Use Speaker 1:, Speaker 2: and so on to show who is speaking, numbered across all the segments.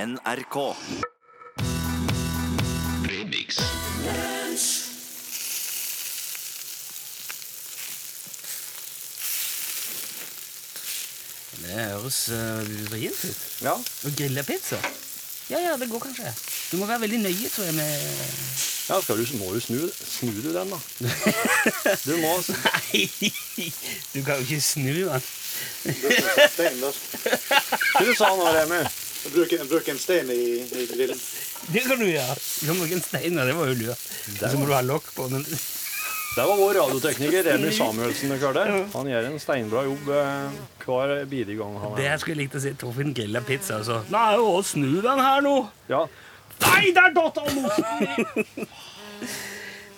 Speaker 1: NRK.
Speaker 2: Remix.
Speaker 3: Det høres uh, vrient ut.
Speaker 4: Ja.
Speaker 3: Å grille pizza? Ja, ja, det går kanskje. Du må være veldig nøye, tror jeg, med
Speaker 4: ja skal du, må du snu, snu du den, da. Du må
Speaker 3: Nei! Du kan jo ikke snu den.
Speaker 5: Stein, da.
Speaker 4: Du sa nå, Remi.
Speaker 5: Bruk, en- bruk en stein i, i grillen.
Speaker 3: Det kan du gjøre. Du kan bruke en stein, ja. Det var jo lurt. Og så må du ha lokk på den.
Speaker 4: Det var vår radiotekniker Remi Samuelsen. du hørte. Han gjør en steinbra jobb eh, hver bidige gang han
Speaker 3: Det
Speaker 4: er
Speaker 3: her skulle jeg likt å se Torfinn grille pizza, altså. Nei, å, snu den her nå!
Speaker 4: Ja,
Speaker 3: Nei, der datt av mosen!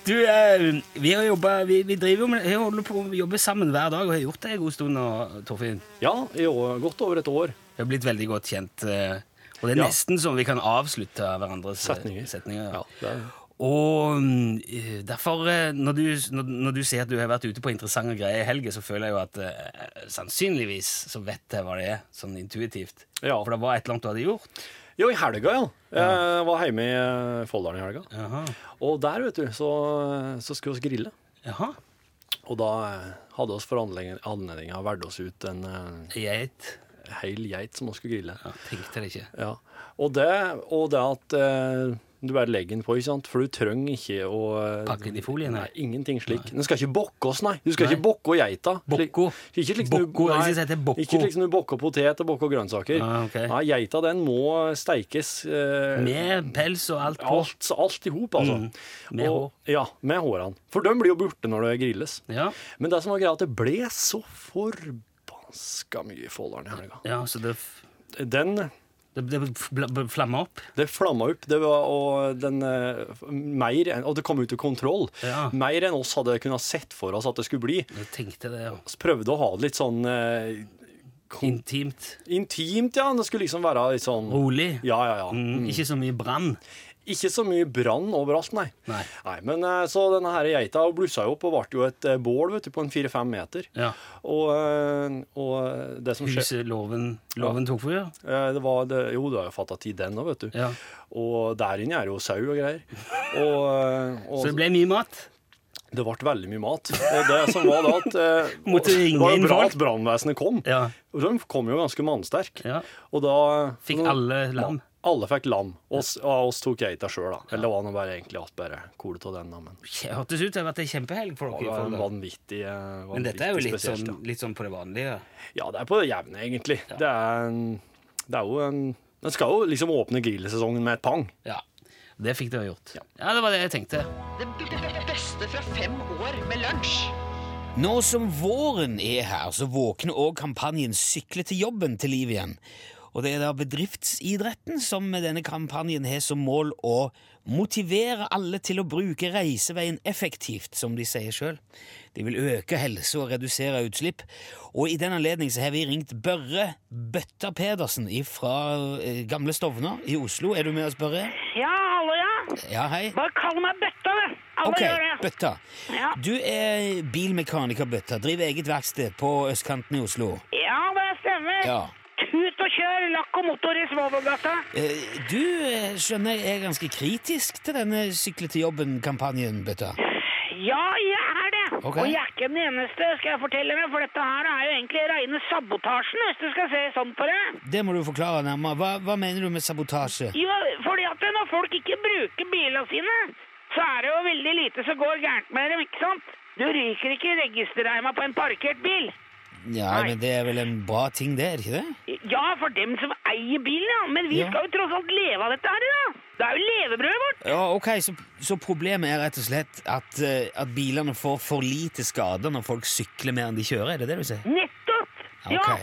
Speaker 3: Du, eh, vi har jobba Vi, vi driver jo med Vi holder på å jobbe sammen hver dag og har gjort det en god stund nå, Torfinn.
Speaker 4: ja i år, godt over et år.
Speaker 3: Vi har blitt veldig godt kjent. eh, Og det er
Speaker 4: Ja.
Speaker 3: nesten sånn vi kan avslutte hverandres eh,
Speaker 4: Setninger.
Speaker 3: setninger ja.
Speaker 4: Ja, det er
Speaker 3: Og mm, eh, derfor, eh, når du, når, når du sier at du har vært ute på interessante greier i helga, så føler jeg jo at eh, sannsynligvis så vet jeg hva det er, sånn intuitivt.
Speaker 4: Ja.
Speaker 3: For det var et eller annet du hadde gjort.
Speaker 4: Jo, i helga, ja. Jeg var hjemme i eh, Folldalen i helga.
Speaker 3: Jaha.
Speaker 4: Og der, vet du, så, så skulle vi grille.
Speaker 3: Jaha.
Speaker 4: Og da eh, hadde oss for anledning- anledninga valgt oss ut en eh,
Speaker 3: Geit.
Speaker 4: hel geit som vi skulle grille.
Speaker 3: Ja, tenkte det ikke.
Speaker 4: Ja. Og, det, og det at eh, du bare legger den på, ikke sant? for du trenger ikke å eh,
Speaker 3: Pakke den i folie, nei.
Speaker 4: Nei, ingenting slik. Den skal ikke bokke oss, nei. Du skal
Speaker 3: Nei.
Speaker 4: ikke bokke geita. Slik-
Speaker 3: Bokko.
Speaker 4: Ikke slik som du-
Speaker 3: Bokko, jeg
Speaker 4: nei,
Speaker 3: synes det heter bokko.
Speaker 4: Ikke slik som du bokker potet og bokker grønnsaker.
Speaker 3: Ah, ok.
Speaker 4: Nei, geita den må steikes eh,
Speaker 3: Med pels og alt på. Mm.
Speaker 4: alt, alt i hop, altså.
Speaker 3: Med
Speaker 4: Og- Ja, med hårene. For de blir jo borte når det grilles.
Speaker 3: Ja.
Speaker 4: Men det som var greia, at det ble så forbanska mye Folldalen i helga.
Speaker 3: ja, så det, f-
Speaker 4: Den
Speaker 3: det, det fl- fl- flammer opp.
Speaker 4: Det flamma opp. Det var, og, den, eh, mer enn, og det kom ut av kontroll.
Speaker 3: Ja.
Speaker 4: Mer enn oss hadde kunnet sett for oss at det skulle bli.
Speaker 3: Jeg tenkte det, ja.
Speaker 4: Vi prøvde å ha det litt sånn eh, kon
Speaker 3: Intimt.
Speaker 4: intimt, ja. Det skulle liksom være litt sånn
Speaker 3: Rolig.
Speaker 4: Ja, ja, ja.
Speaker 3: Oh. Mm, ikke så mye brann.
Speaker 4: Ikke så mye brann overalt, nei.
Speaker 3: Nei.
Speaker 4: men eh, Så denne her geita blussa jo opp og ble jo et eh, bål vet du, på en fire-fem meter.
Speaker 3: Ja.
Speaker 4: Og, eh, og det som skjedde
Speaker 3: Huset, låven, låven tok fyr.
Speaker 4: Eh, Det var, det, jo, du har jo fatta tid, den òg, vet du.
Speaker 3: Ja.
Speaker 4: Og der inne er jo sau og greier. Og, eh, og
Speaker 3: Så det ble mye mat.
Speaker 4: det ble veldig mye mat. Og det som var da at eh,
Speaker 3: Måtte ringe
Speaker 4: var jo
Speaker 3: inn
Speaker 4: bra
Speaker 3: folk.
Speaker 4: at brannvesenet kom.
Speaker 3: Ja.
Speaker 4: Og de kom jo ganske mannsterk.
Speaker 3: Ja.
Speaker 4: Og da
Speaker 3: Fikk alle lam.
Speaker 4: Alle fikk lam. Oss, og oss tok geita sjøl, da. Eller det var nå bare egentlig alt bare kolet av den, da. Men
Speaker 3: Kje- Hørtes ut som det har vært en kjempehelg for
Speaker 4: det
Speaker 3: dere.
Speaker 4: var
Speaker 3: for
Speaker 4: en
Speaker 3: det.
Speaker 4: vanvittig, eh, vanvittig
Speaker 3: Men dette er jo litt
Speaker 4: spesielt,
Speaker 3: sånn, litt sånn på det vanlige.
Speaker 4: ja. ja, det er på det jevne, egentlig. Det, er en, det er jo en Den skal jo liksom åpne grillsesongen med et pang.
Speaker 3: Ja. Det fikk dere gjort. Ja, det var det jeg tenkte.
Speaker 6: Det beste fra fem år med lunsj.
Speaker 7: Nå som våren er her, så våkner òg kampanjen Sykle til jobben til liv igjen. Og det er da bedriftsidretten som med denne kampanjen har som mål å motivere alle til å bruke reiseveien effektivt, som de sier sjøl. De vil øke helse og redusere utslipp. Og i den anledning så har vi ringt Børre Bøtta Pedersen fra eh, Gamle Stovner i Oslo. Er du med oss, Børre?
Speaker 8: Ja, hallo, ja.
Speaker 7: Ja, hei.
Speaker 8: Bare kall meg Bøtta, det. Alle
Speaker 7: Ok,
Speaker 8: gjør det.
Speaker 7: Bøtta.
Speaker 8: Ja.
Speaker 7: Du er bilmekaniker Bøtta, driver eget verksted på østkanten i Oslo.
Speaker 8: Ja, det stemmer.
Speaker 7: Ja.
Speaker 8: Tut og kjør, lakk og motor i Småborgata.
Speaker 7: Eh, Du eh, skjønner jeg er ganske kritisk til denne Sykle til jobben-kampanjen, Bøtta.
Speaker 8: Ja, jeg er det.
Speaker 7: Ok.
Speaker 8: Og jeg er ikke den eneste, skal jeg fortelle deg, for dette her er jo egentlig reine sabotasjen, hvis du skal se sånn på det.
Speaker 7: Det må du forklare nærmere. Hva, hva mener du med sabotasje?
Speaker 8: Jo, fordi at når folk ikke bruker bilene sine, så er det jo veldig lite som går gærent med dem, ikke sant? Du ryker ikke registerreima på en parkert bil.
Speaker 7: Ja,
Speaker 8: Nei.
Speaker 7: men Det er vel en bra ting, det, er det ikke det?
Speaker 8: Ja, for dem som eier bilen, ja. Men vi
Speaker 7: Ja.
Speaker 8: skal jo tross alt leve av dette her, da. Det er jo levebrødet vårt.
Speaker 7: Ja, ok, Så, så problemet er rett og slett at, eh, at bilene får for lite skader når folk sykler mer enn de kjører? Er det det du sier?
Speaker 8: Nettopp!
Speaker 7: Ok.
Speaker 8: Ja,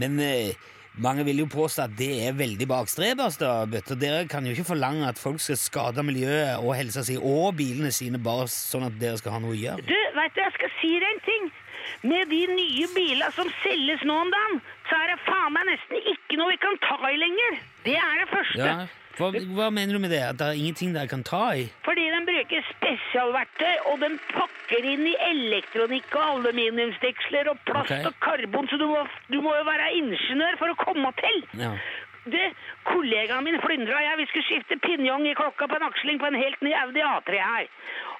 Speaker 7: Men eh, mange vil jo påstå at det er veldig bakstrebers, da, Bøtter. Dere kan jo ikke forlange at folk skal skade miljøet og helsa si og bilene sine bare sånn at dere skal ha noe å gjøre.
Speaker 8: du, vet du, jeg skal si deg en ting. Med de nye bilene som selges nå om dagen, så er det faen meg nesten ikke noe vi kan ta i lenger. Det er det første.
Speaker 7: Ja, hva, hva mener du med det? At det er ingenting dere kan ta i?
Speaker 8: Fordi de bruker spesialverktøy, og de pakker inn i elektronikk og aluminiumsdeksler og plast
Speaker 7: Ok.
Speaker 8: og karbon, så du må, du må jo være ingeniør for å komme til.
Speaker 7: Ja.
Speaker 8: Du, kollegaen min Flyndra og jeg, vi skulle skifte pinjong i klokka på en aksling på en helt ny Audi A3 her.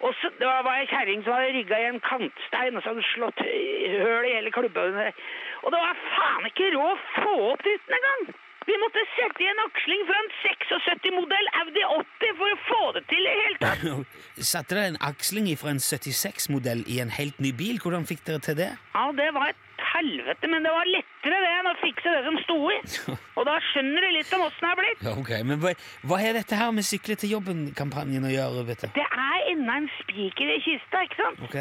Speaker 8: Og så det var- var ei kjerring som hadde rygga i en kantstein og så hadde hun slått hø- høl i hele klubba under. Og det var faen ikke råd å få opp duten engang! Vi måtte sette i en aksling fra en 76-modell Audi 80 for å få det til i det hele tatt!
Speaker 7: Satte dere en aksling fra en 76-modell i en helt ny bil? Hvordan fikk dere til det?
Speaker 8: Ja, det var et helvete, men det var lettere det enn å fikse det som sto i. Og da skjønner du litt om åssen det er blitt.
Speaker 7: Ja, ok, Men hva, hva har dette her med Sykle til jobben-kampanjen å gjøre? vet du?
Speaker 8: Det er enda en spiker i kista, ikke sant?
Speaker 7: Ok,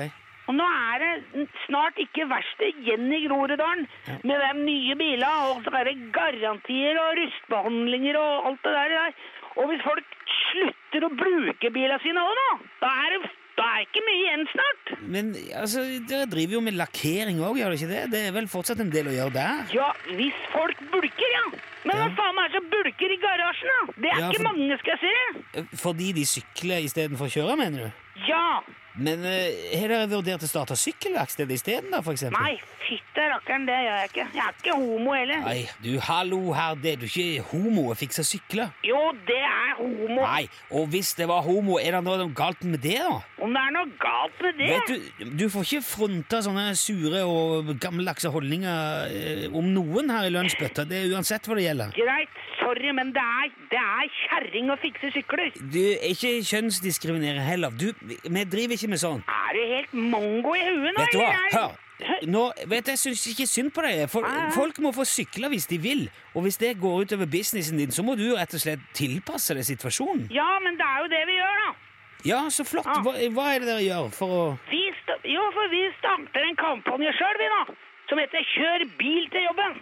Speaker 8: Og nå er det snart ikke verste igjen i Groruddalen. Med de nye biler og så er det garantier og rustbehandlinger og alt det der der. Og hvis folk slutter å bruke bilene sine òg nå, da er det da er det ikke mye igjen snart.
Speaker 7: Men altså, dere driver jo med lakkering òg, gjør dere ikke det? Det er vel fortsatt en del å gjøre der?
Speaker 8: Ja, hvis folk bulker, ja. Men hva
Speaker 7: Ja.
Speaker 8: faen er det som bulker i garasjen, da? Det er
Speaker 7: Ja,
Speaker 8: ikke
Speaker 7: for-
Speaker 8: mange, skal jeg si.
Speaker 7: Fordi de sykler istedenfor å kjøre, mener du?
Speaker 8: Ja.
Speaker 7: Men eh, har dere vurdert å starte sykkelverksted isteden, da, for eksempel?
Speaker 8: Nei, fytte rakkeren, det gjør jeg ikke. Jeg er ikke homo heller.
Speaker 7: Nei, du, hallo her, det er du ikke homo og fikser sykler?
Speaker 8: Jo, det er homo.
Speaker 7: Nei, og hvis det var homo, er det noe galt med det, da?
Speaker 8: Om det er noe galt med det?
Speaker 7: Vet du, du får ikke fronta sånne sure og gammeldagse holdninger eh, om noen her i lønnsbøtta. Det er uansett hva det gjelder.
Speaker 8: Greit, sorry, men det er, det er kjerring å fikse sykler.
Speaker 7: Du er ikke kjønnsdiskriminerende heller. Du, vi vi driver ikke med sånn.
Speaker 8: Er du helt mongo i huet nå?
Speaker 7: Vet du hva?
Speaker 8: eller er-
Speaker 7: Hør! Nå, vet du, Jeg syns ikke synd på deg. Fol-
Speaker 8: Nei.
Speaker 7: Folk må få sykle hvis de vil. Og hvis det går utover businessen din, så må du rett og slett tilpasse deg situasjonen.
Speaker 8: Ja, men det er jo det vi gjør, da.
Speaker 7: Ja, så flott.
Speaker 8: Ja.
Speaker 7: Hva, hva er det dere gjør for å
Speaker 8: Vi sta jo, for vi starter en kampanje sjøl, vi nå. Som heter 'Kjør bil til jobben'.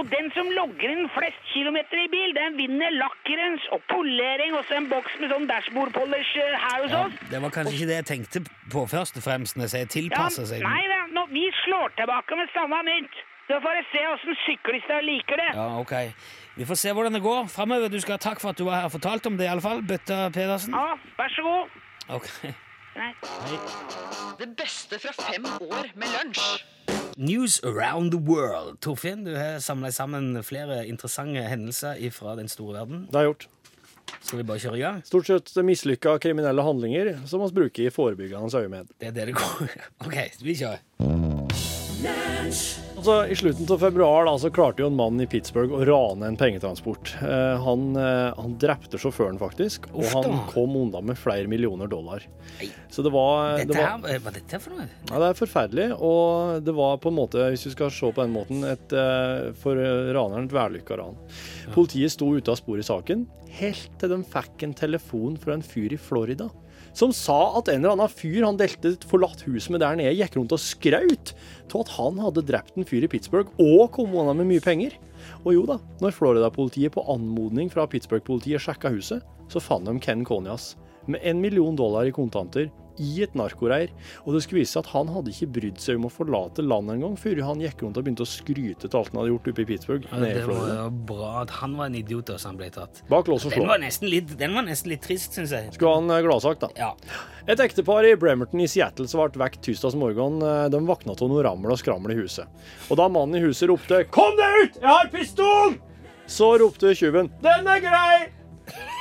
Speaker 8: Og den som logger inn flest kilometer i bil, den vinner lakkrens og polering og så en boks med sånn dashbordpolish eh, her hos
Speaker 7: ja,
Speaker 8: oss.
Speaker 7: Det var kanskje ikke det jeg tenkte på først og fremst når jeg sier
Speaker 8: Ja,
Speaker 7: tilpasse seg.
Speaker 8: nei da, nå, vi slår tilbake med samme mynt. Så får jeg se åssen syklister liker det.
Speaker 7: Ja, ok. Vi får se hvordan det går fremover. Du skal ha takk for at du var her og fortalte om det, i alle fall. Bøtta Pedersen.
Speaker 8: Ja, vær så god.
Speaker 7: Ok.
Speaker 8: Nei.
Speaker 3: Det beste fra fem år med lunsj.
Speaker 9: News around the world. Torfinn, du har samla sammen flere interessante hendelser fra den store verden.
Speaker 4: Det er gjort.
Speaker 9: Skal vi bare kjøre i gang?
Speaker 4: Stort sett mislykka kriminelle handlinger som vi bruker i forebyggende øyemed.
Speaker 9: Det er det det går OK, vi kjører.
Speaker 4: Altså, I slutten av februar da, så klarte jo en mann i Pittsburgh å rane en pengetransport. Eh, han, eh, han drepte sjåføren, faktisk, og
Speaker 9: Uff da.
Speaker 4: han kom unna med flere millioner dollar.
Speaker 9: Nei.
Speaker 4: Så det var, det
Speaker 9: Dette
Speaker 4: var
Speaker 9: her, hva er dette for noe?
Speaker 4: Ja, det er forferdelig, og det var på en måte, hvis du skal se på den måten, et, eh, for raneren et vellykka ran. Politiet sto ute av spor i saken, helt til de fikk en telefon fra en fyr i Florida, som sa at en eller annen fyr han delte et forlatt hus med der nede, gikk rundt og skraut til at han hadde drept en fyr i Pittsburgh og kom unna med mye penger. Og jo da, når Florida-politiet på anmodning fra Pittsburgh-politiet sjekka huset, så fant de Ken Konyas med en million dollar i kontanter i et narkoreir, og det skulle vise seg at han hadde ikke brydd seg om å forlate landet engang før han gikk rundt og begynte å skryte til alt han hadde gjort oppe i Pittsburgh.
Speaker 9: Ja,
Speaker 4: nede i
Speaker 9: Det var
Speaker 4: Florida.
Speaker 9: jo bra at han var en idiot da, så han ble tatt.
Speaker 4: Bak lås og
Speaker 9: Den
Speaker 4: slå.
Speaker 9: var nesten litt, den var nesten litt trist, syns jeg.
Speaker 4: Skulle han eh, gladsak, da.
Speaker 9: Ja.
Speaker 4: Et ektepar i Bremerton i Seattle som ble vekket tirsdags morgen, eh, de våkna av noe rammel og skrammel i huset. Og da mannen i huset ropte 'Kom deg ut! Jeg har pistol!' Så ropte tjuven 'Den er grei!'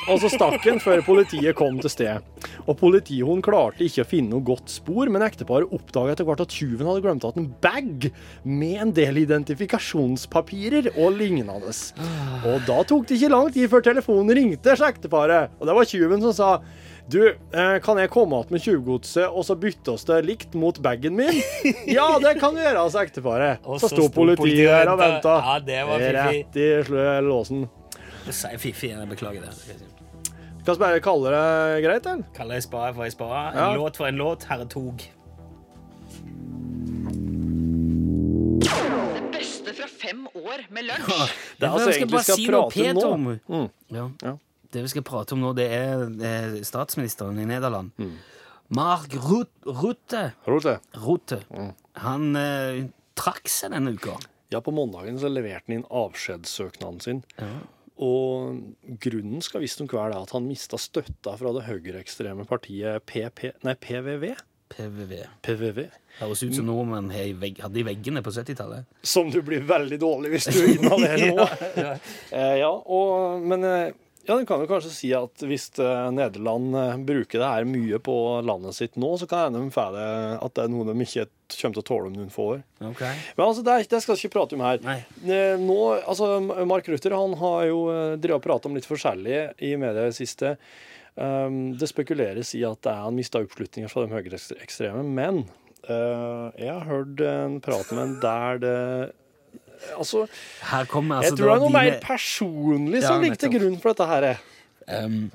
Speaker 4: Og så Altså, stakk han før politiet kom til stedet. Og politihunden klarte ikke å finne noe godt spor, men ekteparet oppdaga etter hvert at tjuven hadde glemt igjen en bag med en del identifikasjonspapirer og lignende. Og da tok det ikke lang tid før telefonen ringte til ekteparet, og det var tjuven som sa du, eh, kan jeg komme igjen med tjuvgodset, og så bytte oss det likt mot bagen min? Ja, det kan du gjøre, sa ekteparet.
Speaker 7: Og
Speaker 4: Så
Speaker 7: så
Speaker 4: sto
Speaker 7: sto
Speaker 4: politiet
Speaker 7: politiet
Speaker 4: der og venta.
Speaker 7: venta. Ja, det var fiffig.
Speaker 4: Rett i slø- låsen.
Speaker 9: Det sier Fifi. Jeg beklager det.
Speaker 4: Kan vi bare kalle det greit, eller?
Speaker 9: Kaller jeg spade for ei spade. En
Speaker 4: Ja.
Speaker 9: låt for en låt. Herre tog.
Speaker 3: Det beste fra fem år med lunsj.
Speaker 4: Det er altså
Speaker 9: vi skal
Speaker 4: egentlig
Speaker 9: bare
Speaker 4: skal
Speaker 9: si noe
Speaker 4: prate
Speaker 9: pent
Speaker 4: nå.
Speaker 9: om.
Speaker 4: Mm.
Speaker 9: Ja.
Speaker 4: Ja.
Speaker 9: Det vi skal prate om nå, det er eh, statsministeren i Nederland. Mark Rut- Rutte.
Speaker 4: Rote.
Speaker 9: Rutte. Han eh, trakk seg denne uka.
Speaker 4: Ja, på mandagen så leverte han inn avskjedssøknaden sin. Og grunnen skal visstnok være det at han mista støtta fra det høyreekstreme partiet PP, nei, PVV.
Speaker 9: PVV.
Speaker 4: PVV.
Speaker 9: Høres ut som nordmenn har i vegg, hadde i veggene på 70-tallet.
Speaker 4: Som du blir veldig dårlig hvis du inhalerer nå. Eh, ja, og, men eh, ja, en kan jo kanskje si at hvis eh, Nederland eh, bruker det her mye på landet sitt nå, så kan hende de får det at det er noe de ikke kommer til å tåle om noen få år.
Speaker 9: Ok.
Speaker 4: Men altså, det, er, det skal jeg ikke prate om her.
Speaker 9: Nei.
Speaker 4: Eh, Nå, altså, Mark Ruther han har jo eh, drevet og pratet om litt forskjellig i media i det siste. Um, det spekuleres i at det er han mista oppslutninger fra de høyreekstreme, men eh, jeg har hørt en prat med en der det Altså,
Speaker 9: Her kommer
Speaker 4: jeg
Speaker 9: altså
Speaker 4: tror det er noe
Speaker 9: da
Speaker 4: mer
Speaker 9: dine-
Speaker 4: personlig som
Speaker 9: Ja,
Speaker 4: ligger til
Speaker 9: nettopp.
Speaker 4: grunn for dette her.
Speaker 9: Ehm,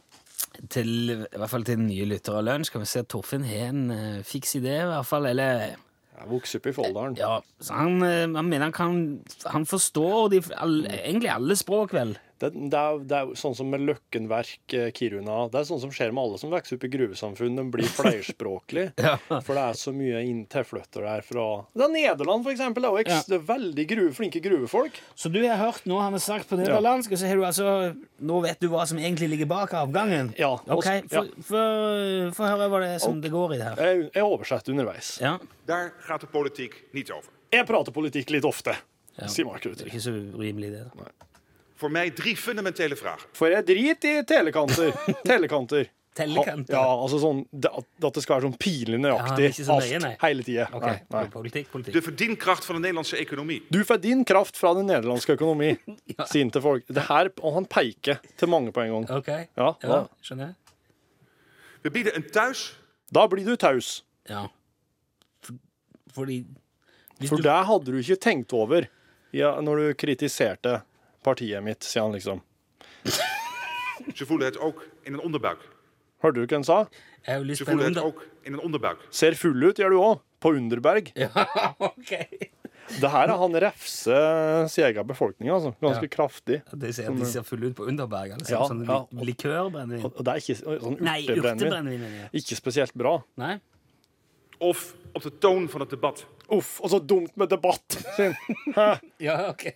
Speaker 9: til, I hvert fall til nye lyttere av lunsj kan vi se at Torfinn har en eh, fiks idé, i hvert fall. Eller
Speaker 4: Jeg vokste opp i Folldalen.
Speaker 9: Ja, så han, eh, han mener han kan Han forstår de, all, egentlig alle språk, vel?
Speaker 4: Det, det, er, det er jo sånn som med Løkkenverk, eh, Kiruna. Det er sånn som skjer med alle som vokser opp i gruvesamfunn. De blir flerspråklige. For det er så mye inn- tilflyttere der fra Det er Nederland, for eksempel. Det er jo eks- det er veldig gruve, flinke gruvefolk.
Speaker 9: Så du har hørt noe han har sagt på nederlandsk, og så har du altså Nå vet du hva som egentlig ligger bak avgangen?
Speaker 4: Ja, og-
Speaker 9: Ok,
Speaker 4: ja.
Speaker 9: Få få- få høre hva det er som det går i det her.
Speaker 4: Jeg, jeg oversetter underveis.
Speaker 9: Ja,
Speaker 5: Daar gaat de politiek niet over.
Speaker 4: Jeg prater politikk litt ofte, sier Mark
Speaker 9: det er
Speaker 4: Ruther.
Speaker 9: ikke så urimelig, det. da.
Speaker 5: Voor mij drie fundamentele vragen.
Speaker 4: For jeg driter i telekanter. telekanter.
Speaker 9: Tellekanter?
Speaker 4: Ha, ja, altså sånn det, at- At det skal være sånn pinlig nøyaktig
Speaker 9: ikke så nøye, nei.
Speaker 4: alt, hele tida.
Speaker 9: Ok, Politikk,
Speaker 5: De
Speaker 9: politikk.
Speaker 5: verdienkracht van de Nederlandse economie.
Speaker 4: Du får din kraft fra den nederlandske økonomi, sier han til folk. Det her, og han peker til mange på en gang.
Speaker 9: Ok,
Speaker 4: Ja, ja.
Speaker 9: skjønner jeg.
Speaker 5: We bieden een thuis.
Speaker 4: Da blir du taus,
Speaker 9: Ja. For, fordi hvis
Speaker 4: for
Speaker 9: du,
Speaker 4: det hadde du ikke tenkt over ja, når du kritiserte partiet mitt, sier han liksom.
Speaker 5: Ze voelen het ook in hun onderbuik.
Speaker 4: Hørte du hva han sa?
Speaker 9: Jeg er jo litt
Speaker 5: Ze voelen
Speaker 9: spennende.
Speaker 5: het ook in hun onderbuik.
Speaker 4: Ser full ut, gjør du òg. På Underberg.
Speaker 9: Ja, ok.
Speaker 4: Det her er han refser sin egen befolkning, altså. Ganske
Speaker 9: Ja.
Speaker 4: kraftig.
Speaker 9: De ser, de ser fulle ut på Underberg. Altså,
Speaker 4: Ja,
Speaker 9: sånn
Speaker 4: ja.
Speaker 9: li- likørbrennevin.
Speaker 4: Og det er ikke sånn
Speaker 9: Nei,
Speaker 4: urtebrennevin.
Speaker 9: urtebrennevin. mener jeg.
Speaker 4: Ikke spesielt bra.
Speaker 9: Nei?
Speaker 5: Of op de toon van het debat.
Speaker 4: Uff, og så dumt med debatt! sier han.
Speaker 9: Ja, ok.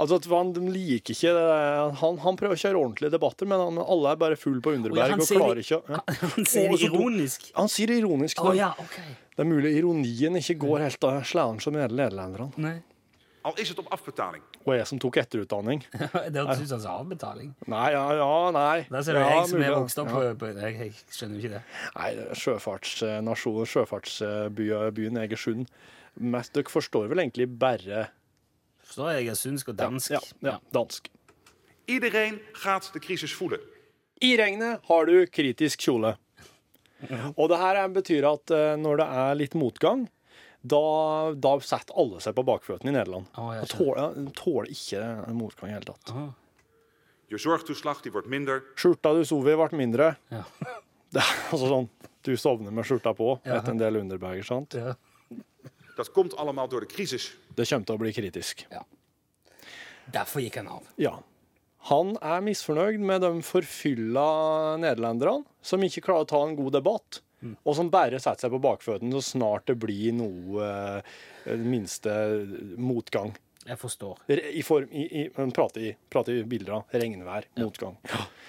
Speaker 4: Altså, at han, De liker ikke det. Han, han prøver å kjøre ordentlige debatter, men han, alle er bare full på
Speaker 9: Å, ja, han
Speaker 4: Underberg og
Speaker 9: sier
Speaker 4: klarer
Speaker 9: det-
Speaker 4: ikke å ja.
Speaker 9: Han sier
Speaker 4: Og
Speaker 9: det
Speaker 4: så dum-
Speaker 9: ironisk.
Speaker 4: Han sier det ironisk.
Speaker 9: Å
Speaker 4: da.
Speaker 9: ja, ok.
Speaker 4: Det er mulig ironien ikke går helt av slæren som hele nederlenderne.
Speaker 9: Nei.
Speaker 5: Al is het op afbetaling.
Speaker 4: Og jeg som tok etterutdanning.
Speaker 9: Det hørtes ut som altså avbetaling.
Speaker 4: Nei, ja, ja, nei.
Speaker 9: Der ser du
Speaker 4: ja,
Speaker 9: jeg som Altså, er
Speaker 4: mulig.
Speaker 9: vokst opp på, på jeg, jeg skjønner jo ikke det.
Speaker 4: Nei, det er sjøfartsnasjonen, sjøfartsbyen Egersund. Mest dere forstår vel egentlig bare
Speaker 9: Forstår jeg, jeg er sunsk og dansk.
Speaker 4: Ja, ja, dansk.
Speaker 5: Iedereen gaat de crisis voelen.
Speaker 4: I regnet har du kritisk kjole. Og det her er- betyr at eh, når det er litt motgang, da, da setter alle seg på bakføttene i Nederland.
Speaker 9: Å, jeg
Speaker 4: Og tåler, tåler ikke motgang i hele tatt.
Speaker 5: Je zorgtoeslag die wordt minder.
Speaker 4: Skjorta du sov i, ble mindre.
Speaker 9: Ja.
Speaker 4: Det er altså sånn Du sovner med skjorta på etter en del underberger, sant?
Speaker 9: Ja.
Speaker 5: Dat komt allemaal door de crisis.
Speaker 4: Det kommer til å bli kritisk.
Speaker 9: Derfor gikk han av.
Speaker 4: Ja. Han er misfornøyd med de forfylla nederlenderne som ikke klarer å ta en god debatt,
Speaker 9: Mm.
Speaker 4: og som bare setter seg på bakføttene så snart det blir noe eh, minste motgang.
Speaker 9: Jeg forstår.
Speaker 4: Re- I form, i, i, men prate, i, prate i bilder av regnvær, motgang.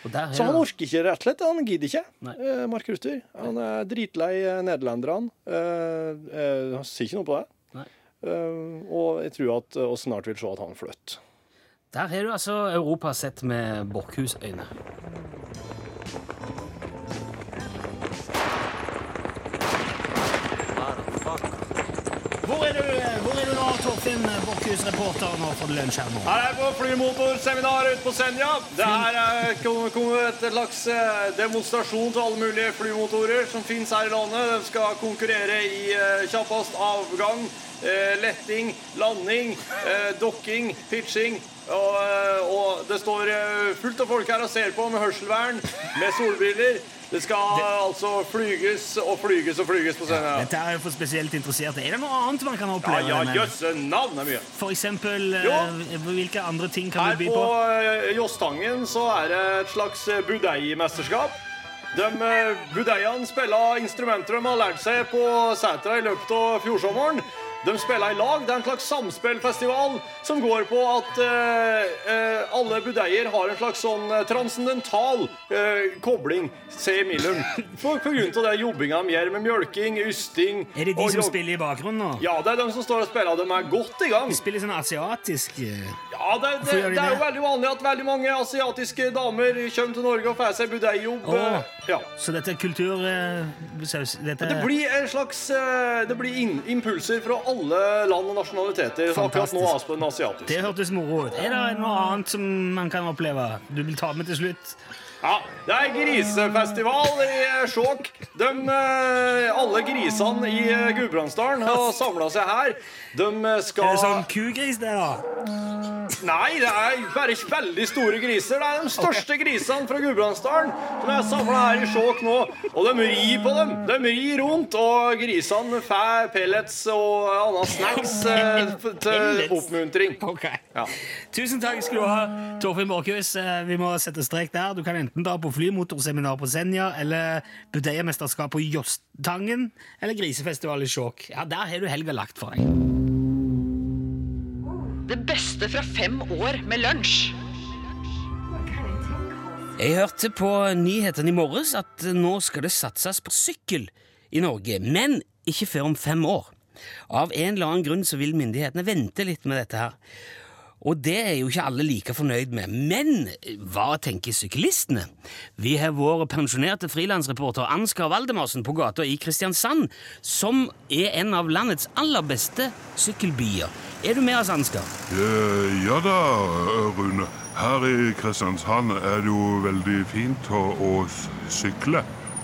Speaker 9: Og der
Speaker 4: Så
Speaker 9: er
Speaker 4: han
Speaker 9: det.
Speaker 4: orker ikke, rett og slett. Han gidder ikke,
Speaker 9: Nei.
Speaker 4: eh, Mark Ruther. Han er dritlei eh, nederlenderne. Eh, eh, Han sier ikke noe på det.
Speaker 9: Nei.
Speaker 4: Eh, og jeg tror at vi snart vil se at han flytter.
Speaker 9: Der har du altså Europa sett med Borchhus-øyne. Hvor er du, hvor er du nå, Torfinn Borchhus, reporter nå for lunsj her nå?
Speaker 4: Her er på flymotorseminar ute på Senja. Det her er kom- kommer et slags eh, demonstrasjon til alle mulige flymotorer som finnes her i landet. De skal konkurrere i eh, kjappest avgang, eh, letting, landing, eh, dokking, pitching. Og, eh, og det står eh, fullt av folk her og ser på med hørselvern, med solbriller. Det skal altså flyges og flyges og flyges på Senja.
Speaker 9: Dette er jo for spesielt interesserte. Er det noe annet man kan
Speaker 4: Ja,
Speaker 9: oppleve?
Speaker 4: ja,
Speaker 9: med?
Speaker 4: jøsse navn det er mye.
Speaker 9: For eksempel, eh,
Speaker 4: Jo.
Speaker 9: hvilke andre ting kan du
Speaker 4: Her
Speaker 9: by
Speaker 4: på
Speaker 9: på?
Speaker 4: eh, Jåsstangen så er det et slags eh, budeiemesterskap. De eh, budeiene spiller instrumenter de har lært seg på setra i løpet av fjordsommeren. De spiller i lag. Det er en slags samspillfestival som går på at eh, eh, alle budeier har en slags sånn eh, transcendental eh, kobling, sier Millum. På, på grunn av det jobbinga de gjør med mjølking, ysting
Speaker 7: Er det de
Speaker 4: og
Speaker 7: som
Speaker 4: jog-
Speaker 7: spiller i bakgrunnen nå?
Speaker 4: Ja, det er de som står og spiller. De er godt i gang.
Speaker 7: De spiller sånn asiatisk eh,
Speaker 4: Ja, det, det,
Speaker 7: Hvorfor gjør de
Speaker 4: det er jo
Speaker 7: det?
Speaker 4: veldig vanlig at veldig mange asiatiske damer kommer til Norge og får seg budeijobb.
Speaker 7: Åh.
Speaker 4: eh, Ja.
Speaker 7: Så dette er kultur... eh, saus- dette
Speaker 4: Det blir en slags eh, Det blir inn- impulser fra alle land og nasjonaliteter. Så Akkurat nå
Speaker 7: Fantastisk.
Speaker 4: Aspen asiatisk.
Speaker 7: Det hørtes moro ut. Er det noe annet som man kan oppleve? Du vil ta med til slutt?
Speaker 4: Ja, det er grisefestival i eh, Skjåk. De, eh, alle grisene i eh, Gudbrandsdalen har samla seg her. De eh,
Speaker 7: Er
Speaker 4: skal
Speaker 7: det sånn kugris, det, da?
Speaker 4: Nei, det er bare ikke veldig store griser. Det er de største grisene fra Gudbrandsdalen som er samla her i Skjåk nå. Og de rir på dem. De rir rundt, og grisene får pellets og annet snacks eh, f- til oppmuntring.
Speaker 7: Ok.
Speaker 4: Ja.
Speaker 7: Tusen takk skal du ha, Torfinn Borchhus. Eh, Vi må sette strek der. Du kan enten dra på flymotorseminar på Senja, eller budeiermesterskap på Jåsttangen, eller grisefestival i Skjåk. Ja, der har du helga lagt for deg.
Speaker 6: Det beste fra fem år med lunsj.
Speaker 3: Jeg hørte på nyhetene i morges at nå skal det satses på sykkel i Norge, men ikke før om fem år. Av en eller annen grunn så vil myndighetene vente litt med dette her. Og det er jo ikke alle like fornøyd med. Men hva tenker syklistene? Vi har vår pensjonerte frilansreporter Ansgar Valdemarsen på gata i Kristiansand, som er en av landets aller beste sykkelbyer. Er du med oss, Ansgar?
Speaker 10: Eh, Ja da, Rune. Her i Kristiansand er det jo veldig fint å, å s- sykle.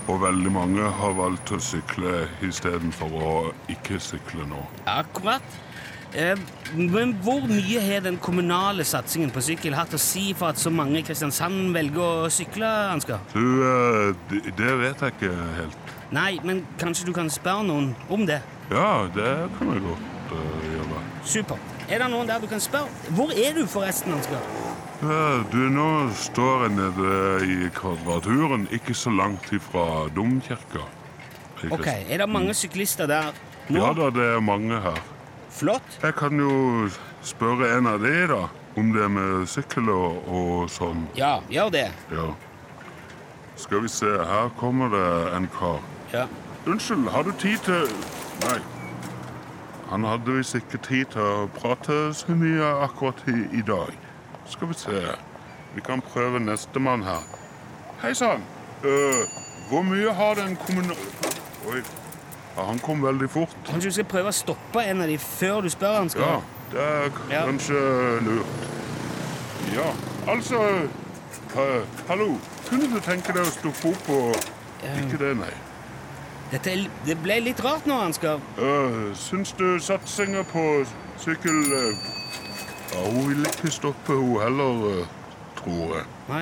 Speaker 10: Og veldig mange har valgt å sykle istedenfor å ikke sykle nå.
Speaker 3: Akkurat. Eh, Men hvor mye har den kommunale satsingen på sykkel hatt å si for at så mange i Kristiansand velger å sykle, Ansgar?
Speaker 10: Du, eh, d- det vet jeg ikke helt.
Speaker 3: Nei, men kanskje du kan spørre noen om det?
Speaker 10: Ja, det kan jeg godt eh, gjøre.
Speaker 3: Supert. Er det noen der du kan spørre? Hvor er du forresten, Ansgar?
Speaker 10: Eh, Du, nå står jeg nede i Kvadraturen, ikke så langt ifra Domkirka.
Speaker 3: Ok,
Speaker 10: i Kristiansand.
Speaker 3: Er det mange syklister der
Speaker 10: Ja
Speaker 3: nå?
Speaker 10: da, det er mange her.
Speaker 3: Flott.
Speaker 10: Jeg kan jo spørre en av de da, om det med sykkel og, og sånn.
Speaker 3: Ja, gjør det.
Speaker 10: Ja. Skal vi se, her kommer det en kar.
Speaker 3: Ja.
Speaker 10: Unnskyld, har du tid til... Nei. Han hadde visst ikke tid til å prate så mye akkurat i, i dag. Skal vi se. Vi kan prøve nestemann her. Hei sann. Øh, hvor mye har den kommunal... Oi. Ja, han kom veldig fort.
Speaker 3: Kanskje du skal prøve å stoppe en av de før du spør, Ansgar?
Speaker 10: Ja, det er k-
Speaker 3: Ja.
Speaker 10: kanskje lurt. Ja, altså eh, Hallo, kunne du tenke deg å stoppe opp og Ikke det, nei.
Speaker 3: Dette, er- det ble litt rart nå, Ansgar.
Speaker 10: Uh, syns du satsinga på sykkel eh, Ja, hun vil ikke stoppe, hun heller, eh, tror jeg.
Speaker 3: Nei.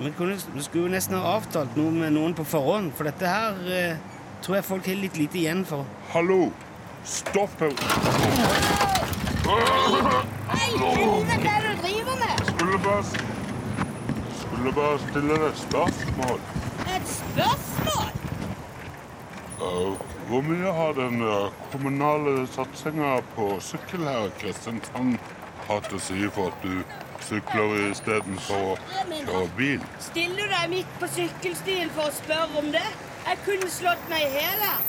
Speaker 3: Vi, kunne, vi skulle jo nesten ha avtalt noe med noen på forhånd, for dette her eh, tror jeg folk har litt lite igjen for.
Speaker 10: Hallo, stopp henne.
Speaker 8: Hva er det du driver med?
Speaker 10: Skulle bare s- Skulle bare stille deg et spørsmål.
Speaker 8: Et spørsmål?
Speaker 10: Eh, Hvor mye har den eh, kommunale satsinga på sykkel her i Kristiansand hatt å si for at du sykler istedenfor å kjøre bil?
Speaker 8: Stiller du deg midt på sykkelstien for å spørre om det? Jeg kunne slått meg i hjel her.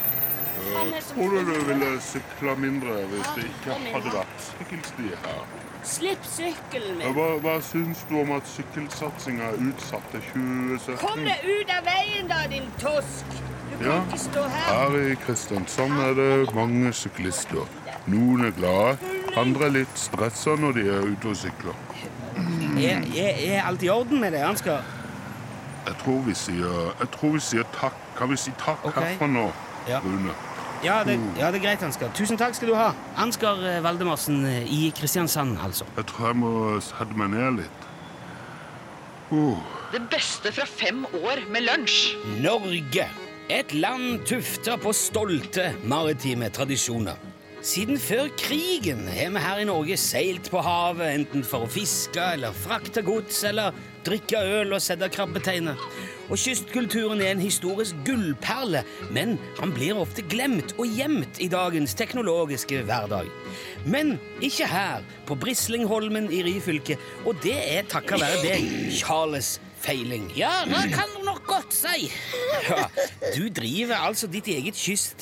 Speaker 8: Han er som
Speaker 10: Eh, Tror du du
Speaker 8: sykler.
Speaker 10: ville sykla mindre hvis det ikke hadde vært sykkelsti her?
Speaker 8: Slipp sykkelen
Speaker 10: Eh,
Speaker 8: min.
Speaker 10: Hva, hva syns du om at sykkelsatsinga er utsatt til
Speaker 8: Kom
Speaker 10: 2017?
Speaker 8: deg ut av veien da, din tosk. Du kan
Speaker 10: Ja.
Speaker 8: ikke stå her.
Speaker 10: Her i Kristiansand er det mange syklister. Noen er glade, andre er litt stressa når de er ute og sykler.
Speaker 3: Er, er, er alt i orden med det, Ansgar?
Speaker 10: Jeg tror vi sier, jeg tror vi sier takk. Kan vi si takk
Speaker 3: Ok.
Speaker 10: herfra nå,
Speaker 3: Ja.
Speaker 10: Rune?
Speaker 3: Ja, det, ja, det er greit, Ansgar. Tusen takk skal du ha. Ansgar eh, Valdemarsen eh, i Kristiansand, altså.
Speaker 10: Jeg tror jeg må sette meg ned litt. Uh,
Speaker 6: Det beste fra fem år med lunsj.
Speaker 3: Norge. Et land tufta på stolte maritime tradisjoner. Siden før krigen har vi her i Norge seilt på havet, enten for å fiske eller frakte gods eller drikke øl og sette krabbeteiner. Og kystkulturen er en historisk gullperle, men han blir ofte glemt og gjemt i dagens teknologiske hverdag. Men ikke her, på Brislingholmen i Ryfylke, og det er takket være deg, Charles Feiling.
Speaker 8: Ja, det kan du nok godt si.
Speaker 3: Ja, du driver altså ditt eget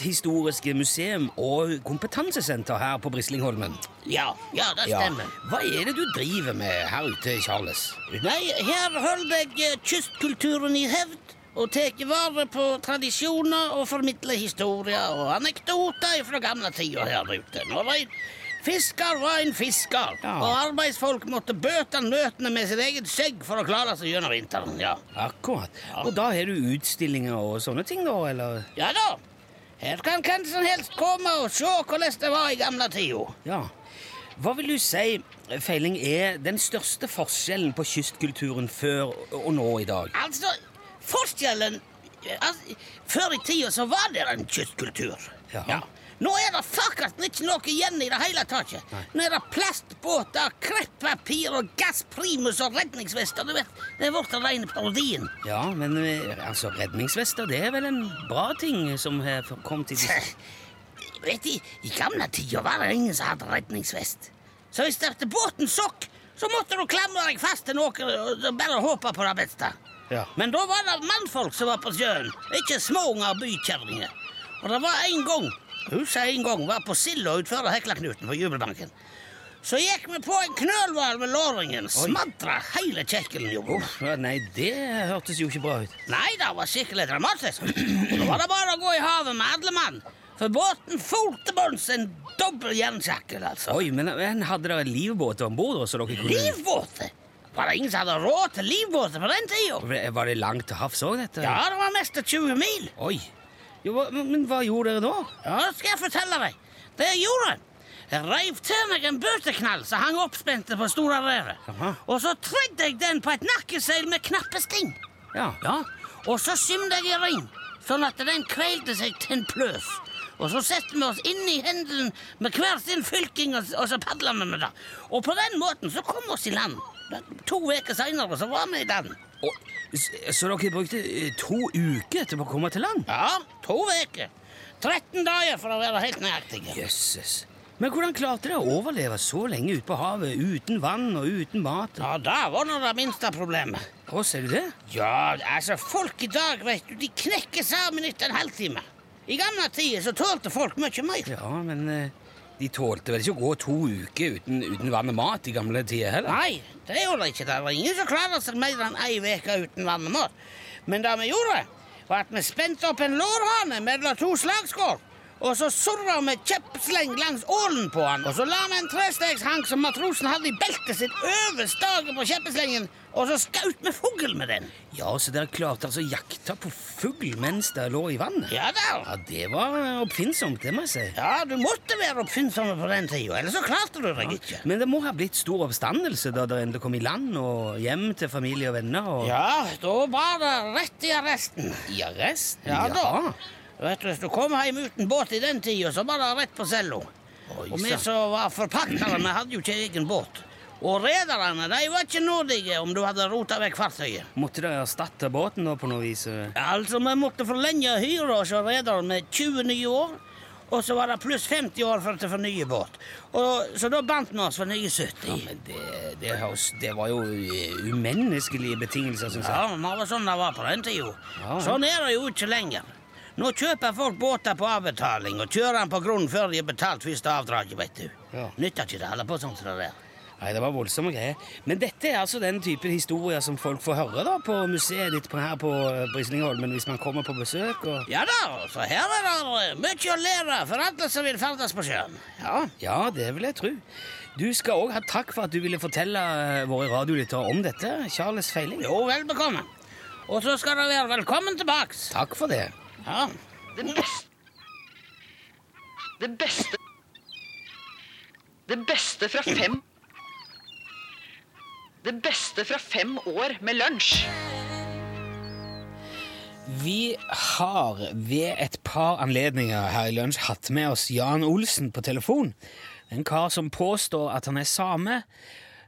Speaker 3: kysthistoriske museum og kompetansesenter her på Brislingholmen.
Speaker 8: Ja, ja, det
Speaker 3: Ja.
Speaker 8: stemmer.
Speaker 3: Hva er det du driver med her ute, Charles?
Speaker 8: Nei, her holder jeg eh, kystkulturen i hevd og tar vare på tradisjoner og formidler historier og anekdoter fra gamle tider her ute. Når en fisker var en fisker,
Speaker 3: Ja.
Speaker 8: og arbeidsfolk måtte bøte nøtene med sitt eget skjegg for å klare seg gjennom vinteren. ja.
Speaker 3: Akkurat. Og da har du utstillinger og sånne ting, da? eller?
Speaker 8: Ja da. Her kan hvem som helst komme og se hvordan det var i gamle tida.
Speaker 3: Ja. Hva vil du si, Feiling, er den største forskjellen på kystkulturen før og nå i dag?
Speaker 8: Altså, forskjellen altså, Før i tida så var det en kystkultur.
Speaker 3: Ja.
Speaker 8: Nå er det fuckings ikke noe igjen i det hele tatt. Nå er det plastbåter, kreppapir og gassprimus og redningsvester. Du vet, Det er blitt rene parodien.
Speaker 3: Ja, men eh, altså, redningsvester det er vel en bra ting som har kommet i disse
Speaker 8: Vet I i gamle tider var det ingen som hadde redningsvest. Så hvis dette båten sokk, så måtte du klamre deg fast til noe og bare håpe på det beste.
Speaker 3: Ja.
Speaker 8: Men da var det mannfolk som var på sjøen, ikke småunger og bykjerringer. Og det var en gang, husker jeg en gang, var på Silda utenfor Heklaknuten på Jubelbanken. Så gikk vi på en knølhval med låringen, smadra hele kjekkelen. jo.
Speaker 3: Uff, ja, nei, det hørtes jo ikke bra ut.
Speaker 8: Nei, det var skikkelig dramatisk. Og Da var det bare å gå i havet med alle mann. For båten for til bunns en dobbel jernsjakkel, altså.
Speaker 3: Oi, men, eh, men hadde dere livbåt om bord? Så dere kunne...
Speaker 8: Livbåter! Var det ingen som hadde råd til livbåter på den tida?
Speaker 3: Var det langt til havs òg, dette?
Speaker 8: Ja, det var mest 20 mil.
Speaker 3: Oi. Jo, hva, men men hva gjorde dere da?
Speaker 8: Ja, det skal jeg fortelle deg. Det jeg gjorde, jeg reiv til meg en bøteknall som hang oppspente på store revet.
Speaker 3: Jaha.
Speaker 8: Og så tredde jeg den på et nakkeseil med knappesting.
Speaker 3: Ja.
Speaker 8: Ja, og så skimde jeg i ring, sånn at den kveilte seg til en pløs. Og så setter vi oss inn i hendene med hver sin fylking, og, og så padler vi med det. Og på den måten så kom vi oss i land. To uker seinere så var vi i land.
Speaker 3: Og, s- så dere brukte eh, to uker til å komme til land?
Speaker 8: Ja, to uker. 13 dager, for å være helt nøyaktig.
Speaker 3: Jøsses. Men hvordan klarte dere å overleve så lenge ute på havet uten vann og uten mat?
Speaker 8: Ja, det var nå det minste problemet.
Speaker 3: Å, ser du det?
Speaker 8: Ja, altså, folk i dag, vet du, de knekker sammen etter en halvtime. I gamle tider så tålte folk mye mer.
Speaker 3: Ja, men eh, de tålte vel ikke å gå to uker uten, uten vann og mat i gamle tider heller?
Speaker 8: Nei, det gjorde jeg ikke. Det var ingen som klarte seg mer enn ei uke uten vann og mat. Men det vi gjorde, var at vi spente opp en lårhane mellom to slagskår. Og så surra vi kjeppsleng langs ålen på han. Og så la vi en trestegshank som matrosen hadde i beltet sitt, over staget på kjeppeslengen, og så skjøt vi fugl med den.
Speaker 3: Ja, så dere klarte altså å jakte på fugl mens dere lå i vannet?
Speaker 8: Ja da.
Speaker 3: Ja, det var oppfinnsomt, det må jeg si.
Speaker 8: Ja, du måtte være oppfinnsom på den tida, ellers så klarte du deg ikke.
Speaker 3: Men det må ha blitt stor oppstandelse da dere endelig kom i land og hjem til familie og venner? Og...
Speaker 8: Ja, da var det rett i arresten.
Speaker 3: I arrest?
Speaker 8: Ja da. Vet du, Hvis du kom hjem uten båt i den tida, så var det rett på cello.
Speaker 3: Oi,
Speaker 8: Og vi
Speaker 3: sann.
Speaker 8: som var forpaktere, vi hadde jo ikke egen båt. Og rederne de var ikke nådige om du hadde rota vekk fartøyet.
Speaker 3: Måtte dere erstatte båten da på noe vis? eh?
Speaker 8: Altså, Vi måtte forlenge hyra hos rederen med 20 nye år. Og så var det pluss 50 år for å fornye båt. Og, så da bandt vi oss for nye 70.
Speaker 3: Ja, men det, det, høres- det var jo eh, umenneskelige betingelser, syns jeg.
Speaker 8: Ja, men det var sånn det var på den tida.
Speaker 3: Ja, ja.
Speaker 8: Sånn er det jo ikke lenger. Nå kjøper folk båter på avbetaling og kjører den på grunnen før de har betalt første avdraget, vet du.
Speaker 3: Ja.
Speaker 8: Nytter ikke det å holde på sånn som det der.
Speaker 3: Nei, det var voldsomme greier. Men dette er altså den type historier som folk får høre da på museet ditt på, her på eh, Brislingholmen hvis man kommer på besøk og
Speaker 8: Ja da, så her er det eh, mye å lære for alle som vil ferdes på sjøen. Ja.
Speaker 3: Ja, det vil jeg tro. Du skal òg ha takk for at du ville fortelle eh, våre radiolyttere om dette. Charles Feiling.
Speaker 8: Jo, vel bekomme. Og så skal du være velkommen tilbake.
Speaker 3: Takk for det.
Speaker 8: Ja. Det
Speaker 6: Det beste Det beste fra fem Det beste fra fem år med lunsj.
Speaker 7: Vi har ved et par anledninger her i lunsj hatt med oss Jan Olsen på telefon. En kar som påstår at han er same,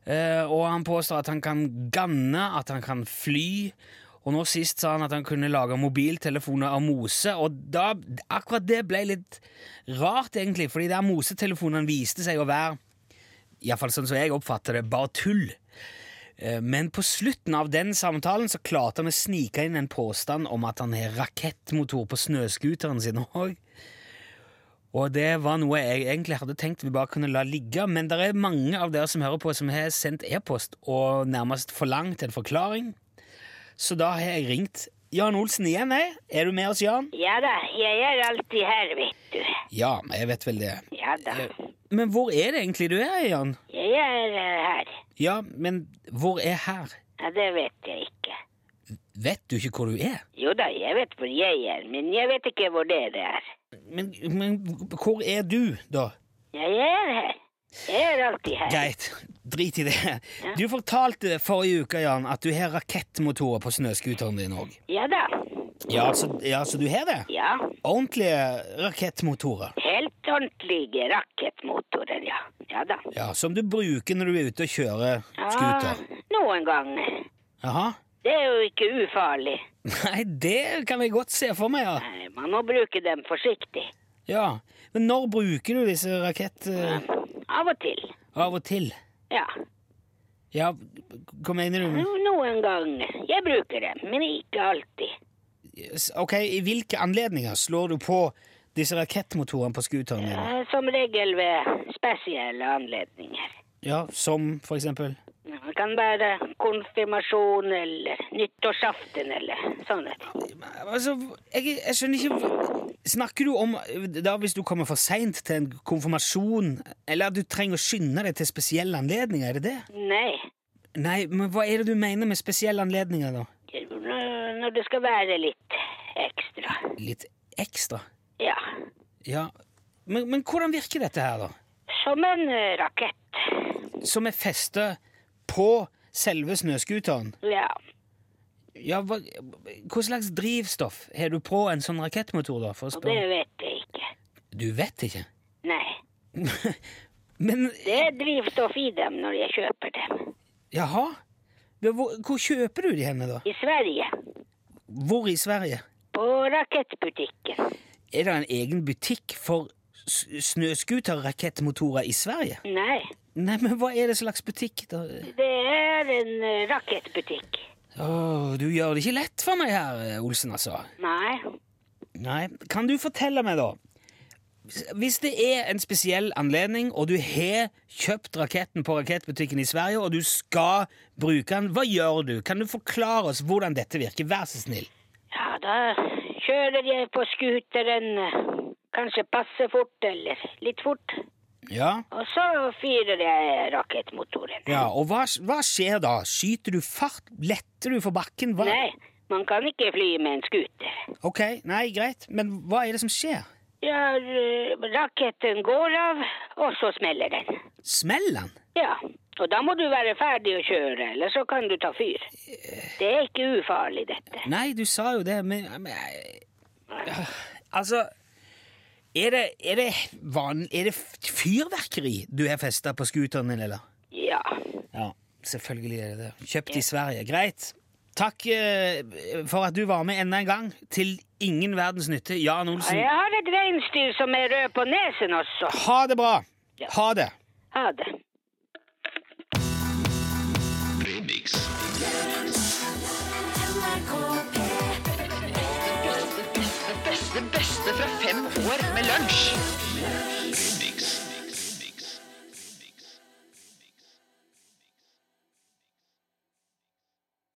Speaker 7: eh, og han påstår at han kan ganne, at han kan fly. Og nå sist sa han at han kunne lage mobiltelefoner av mose, og da, akkurat det ble litt rart, egentlig, fordi der mosetelefonene viste seg å være, iallfall sånn som jeg oppfatter det, bare tull. Eh, Men på slutten av den samtalen så klarte han å snike inn en påstand om at han har rakettmotor på snøscooteren sin òg. Og det var noe jeg egentlig hadde tenkt vi bare kunne la ligge, men det er mange av dere som hører på, som har sendt e-post og nærmest forlangt en forklaring. Så da har jeg ringt Jan Olsen igjen, jeg. Er du med oss, Jan?
Speaker 8: Ja da, jeg er alltid her, vet du.
Speaker 7: Ja, jeg vet vel det.
Speaker 8: Ja da.
Speaker 3: Eh.
Speaker 7: Men hvor er det egentlig du er, Jan?
Speaker 8: Jeg er eh, her.
Speaker 7: Ja, men hvor er her?
Speaker 8: Ja, det vet jeg ikke.
Speaker 7: Vet du ikke hvor du er?
Speaker 8: Jo da, jeg vet hvor jeg er, men jeg vet ikke hvor dere er.
Speaker 7: Men, men hvor er du, da?
Speaker 8: Ja, jeg er her. Jeg er alltid her.
Speaker 7: Greit, drit i det. Du fortalte forrige uke, Jan, at du har rakettmotorer på snøskuteren din òg.
Speaker 8: Ja da.
Speaker 7: Ja, så- ja, så du har det?
Speaker 8: Ja,
Speaker 7: Ordentlige rakettmotorer.
Speaker 8: helt ordentlige rakettmotorer, ja. Ja da.
Speaker 7: Ja, Som du bruker når du er ute og kjører
Speaker 8: Ja,
Speaker 7: scooter.
Speaker 8: noen ganger.
Speaker 7: Jaha?
Speaker 8: Det er jo ikke ufarlig.
Speaker 7: Nei, det kan jeg godt se for meg, ja.
Speaker 8: Nei, Man må bruke dem forsiktig.
Speaker 7: ja. Men når bruker du disse rakettene
Speaker 8: Av og til.
Speaker 7: av og til?
Speaker 8: Ja,
Speaker 7: Ja, hva mener du? med-
Speaker 8: jo, noen ganger. Jeg bruker dem, men ikke alltid.
Speaker 7: Ok, I hvilke anledninger slår du på disse rakettmotorene på scooteren din?
Speaker 8: Eh, Som regel ved spesielle anledninger.
Speaker 7: Ja, Som for eksempel?
Speaker 8: Det kan være konfirmasjon eller nyttårsaften eller sånne ting.
Speaker 7: Altså, jeg, jeg skjønner ikke Snakker du om da hvis du kommer for seint til en konfirmasjon, eller at du trenger å skynde deg til spesielle anledninger? Er det det?
Speaker 8: Nei,
Speaker 7: Nei, men hva er det du mener med spesielle anledninger, da?
Speaker 8: det er når når det skal være litt ekstra.
Speaker 7: Litt ekstra?
Speaker 8: Ja,
Speaker 7: Ja. Men, men hvordan virker dette her, da?
Speaker 8: som en eh, rakett.
Speaker 7: Som er festet på selve snøscooteren?
Speaker 8: Ja,
Speaker 7: Ja, hva, hva slags drivstoff har du på en sånn rakettmotor, da? For å
Speaker 8: og det
Speaker 7: spørre.
Speaker 8: vet jeg ikke.
Speaker 7: Du vet ikke?
Speaker 8: Nei,
Speaker 7: Men
Speaker 8: det er drivstoff i dem når jeg kjøper dem.
Speaker 7: Jaha? Men Hvor, hvor kjøper du de henne, da?
Speaker 8: I Sverige,
Speaker 7: Hvor i Sverige?
Speaker 8: på rakettbutikken.
Speaker 7: Er det en egen butikk for s- snøscooter-rakettmotorer i Sverige?
Speaker 8: Nei,
Speaker 7: Nei, men hva er det slags butikk, da?
Speaker 8: det er en eh, rakettbutikk.
Speaker 7: Åh, du gjør det ikke lett for meg her, Olsen, altså.
Speaker 8: Nei,
Speaker 7: Nei, kan du fortelle meg, da? Hvis det er en spesiell anledning, og du har kjøpt raketten på rakettbutikken i Sverige, og du skal bruke den, hva gjør du? Kan du forklare oss hvordan dette virker? Vær så snill.
Speaker 8: ja, da kjører jeg på skuteren eh, kanskje passe fort eller litt fort.
Speaker 7: Ja,
Speaker 8: Og så fyrer jeg rakettmotoren.
Speaker 7: ja og hva, hva skjer da? Skyter du fart? Letter du for bakken? Hva?
Speaker 8: Nei, man kan ikke fly med en skuter.
Speaker 7: Ok, nei, greit, men hva er det som skjer?
Speaker 8: Ja, eh, raketten går av, og så smeller den.
Speaker 7: Smeller den?
Speaker 8: Ja, og da må du være ferdig å kjøre, eller så kan du ta fyr. Det er ikke ufarlig, dette.
Speaker 7: Nei, du sa jo det, men, men jeg- Altså er det, er, det van, er det fyrverkeri du har festa på scooteren din, eller?
Speaker 8: Ja,
Speaker 7: Ja, selvfølgelig er det det. Kjøpt i Sverige. Greit. Takk eh, for at du var med enda en gang. Til ingen verdens nytte, Jan
Speaker 8: og
Speaker 7: Olsen.
Speaker 8: jeg har et reinsdyr som er rød på nesen også.
Speaker 7: Ha det bra! Ha det!
Speaker 8: Ha det.
Speaker 6: Det beste fra fem år med lunsj.